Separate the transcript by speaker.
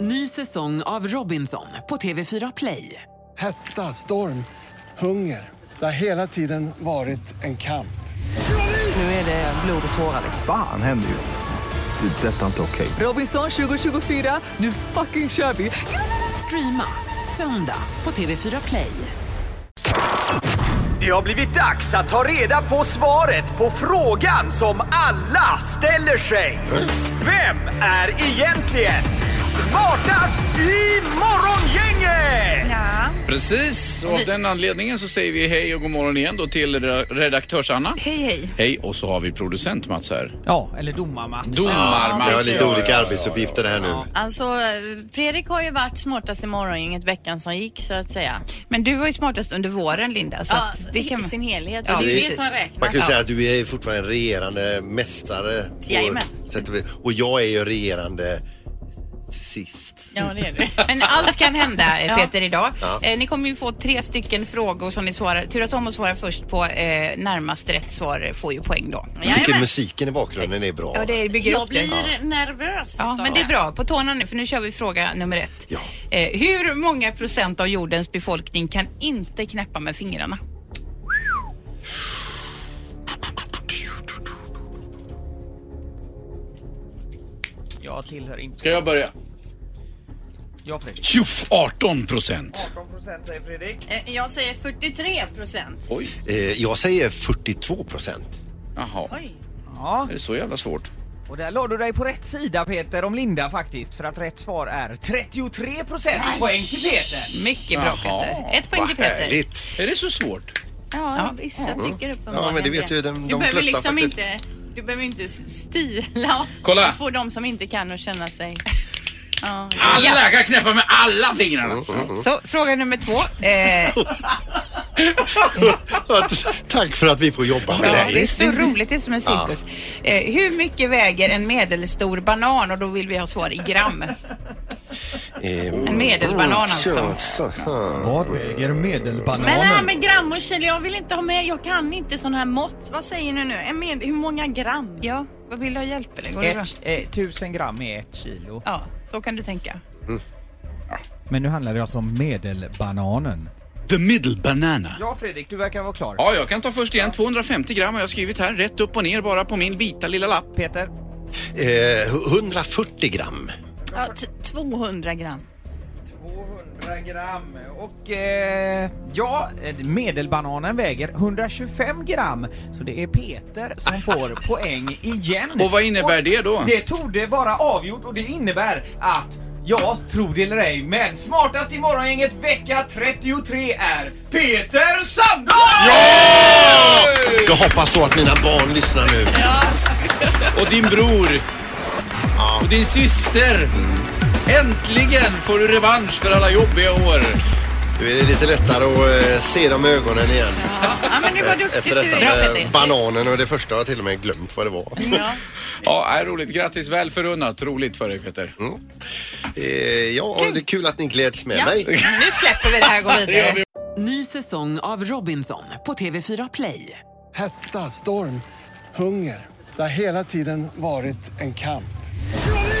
Speaker 1: Ny säsong av Robinson på TV4 Play.
Speaker 2: Hetta, storm, hunger. Det har hela tiden varit en kamp.
Speaker 1: Nu är det Eh, blod och tårar. liksom.
Speaker 3: Fan händer just nu. Det. är Detta är inte okej.
Speaker 1: Robinson 2024, nu fucking kör vi! Streama söndag på TV4 Play.
Speaker 4: Det har blivit dags att ta reda på svaret på frågan som alla ställer sig. Vem är egentligen smartast i Morgongänget?
Speaker 5: Precis, och av den anledningen så säger vi hej och god morgon igen då till re- redaktörs-Anna.
Speaker 6: Hej hej.
Speaker 5: Hej, och så har vi producent-Mats här.
Speaker 7: Ja, eller domarmatch.
Speaker 5: Domar-Mats.
Speaker 8: Jag har lite olika arbetsuppgifter här nu.
Speaker 6: Alltså eh, Fredrik har ju varit smartast i morgongänget veckan som gick så att säga. Men du var ju smartast under våren Linda. Så
Speaker 9: Ja,
Speaker 6: det kan...
Speaker 9: i sin helhet.
Speaker 6: Ja,
Speaker 9: och det är det
Speaker 6: precis.
Speaker 9: som räknas.
Speaker 8: Man kan ju säga att du är fortfarande regerande mästare. på
Speaker 9: Jajamän.
Speaker 8: sätt och vis. Och jag är ju regerande sist.
Speaker 9: Ja, det är det.
Speaker 6: Men allt kan hända eh, Peter idag.
Speaker 8: Ja.
Speaker 6: Eh, ni kommer ju få tre stycken frågor som ni svarar, turas om att svara först på. Eh, närmast rätt svar eh, får ju poäng då.
Speaker 8: Jag tycker
Speaker 9: Jajamän.
Speaker 8: musiken i bakgrunden är bra.
Speaker 6: Ja, det bygger
Speaker 9: Jag
Speaker 6: upp det.
Speaker 9: blir nervös.
Speaker 6: Ja,
Speaker 9: utav
Speaker 6: men det är bra. På tårna nu, för nu kör vi fråga nummer ett.
Speaker 8: Ja.
Speaker 6: Eh, hur många procent av jordens befolkning kan inte knäppa med fingrarna?
Speaker 7: Jag tillhör inte.
Speaker 5: Ska jag börja?
Speaker 7: Jag Fredrik.
Speaker 5: Tjoff, 18 procent.
Speaker 7: 18 procent säger Fredrik.
Speaker 9: Eh, Jag säger 43 procent.
Speaker 5: Oj,
Speaker 8: Eh, Jag säger 42 procent.
Speaker 5: jaha.
Speaker 9: Oj.
Speaker 7: Ja,
Speaker 5: Är det så jävla svårt?
Speaker 7: och där la du dig på rätt sida Peter om Linda faktiskt. För att rätt svar är 33 procent. Poäng till Peter.
Speaker 6: Mycket bra
Speaker 5: Jaha.
Speaker 6: Peter. Ett poäng
Speaker 5: Vad
Speaker 6: till Peter.
Speaker 8: Härligt.
Speaker 5: Är det så svårt?
Speaker 9: Ja, vissa
Speaker 6: Mm.
Speaker 9: tycker uppenbarligen
Speaker 8: Ja, men det vet ju de,
Speaker 9: Du
Speaker 8: de
Speaker 9: behöver
Speaker 8: flesta
Speaker 9: liksom
Speaker 8: faktiskt.
Speaker 9: inte... Du behöver inte s- stila
Speaker 5: Kolla.
Speaker 9: och få de som inte kan att känna sig... Ja.
Speaker 5: Alla kan knäppa med alla fingrarna.
Speaker 6: Så fråga nummer två. Eh,
Speaker 8: Tack för att vi får jobba med
Speaker 6: Ja, det är
Speaker 8: dig.
Speaker 6: så roligt, det är som en cirkus. Eh, hur mycket väger en medelstor banan? Och då vill vi ha svar i gram.
Speaker 8: Eh,
Speaker 6: En medelbanan alltså.
Speaker 7: Vad väger
Speaker 9: Men det här
Speaker 7: medelbananen?
Speaker 9: med gram och kilo, jag vill inte ha med... Jag kan inte sån här mått. Vad säger ni nu? En med, hur många gram?
Speaker 6: Ja, vad vill du ha hjälp eller? Går det bra?
Speaker 7: Ett, eh, 1000 gram är ett kilo.
Speaker 6: Ja, så kan du tänka.
Speaker 7: Men nu handlar det alltså om medelbananen.
Speaker 5: The middle banana.
Speaker 7: Ja Fredrik, du verkar vara klar.
Speaker 5: Ja, jag kan ta först igen. 250 gram har jag skrivit här. Rätt upp och ner bara på min vita lilla lapp.
Speaker 7: Peter.
Speaker 8: Eh, 140 gram.
Speaker 9: Ja, t- 200 gram.
Speaker 7: 200 gram. Och eh, ja, eh, medelbananen väger 125 gram. Så det är Peter som får poäng igen.
Speaker 5: Och vad innebär det då?
Speaker 7: Det tog det vara avgjort och det innebär att Ja, tro det eller ej, men smartast i morgongänget vecka 33 är Peter Sandberg!
Speaker 8: Jag hoppas så att mina barn lyssnar nu.
Speaker 5: Och din bror. Och din syster. Äntligen får du revansch för alla jobbiga år.
Speaker 8: Nu är det lite lättare att eh, se dem i ögonen igen.
Speaker 9: Ja, men det var
Speaker 8: Efter
Speaker 9: duktigt du.
Speaker 8: detta
Speaker 9: Bra,
Speaker 8: med
Speaker 9: Peter.
Speaker 8: bananen och det första har jag till och med glömt vad det var.
Speaker 9: Ja.
Speaker 5: Ja, är roligt. Grattis, väl förunnat. Roligt för dig Peter.
Speaker 8: Eh, ja, och det är kul att ni gläds med mig.
Speaker 6: Nu släpper vi det här och går vidare.
Speaker 1: Ny säsong av Robinson på TV4 Play.
Speaker 2: Hetta, storm, hunger. Det har hela tiden varit en kamp.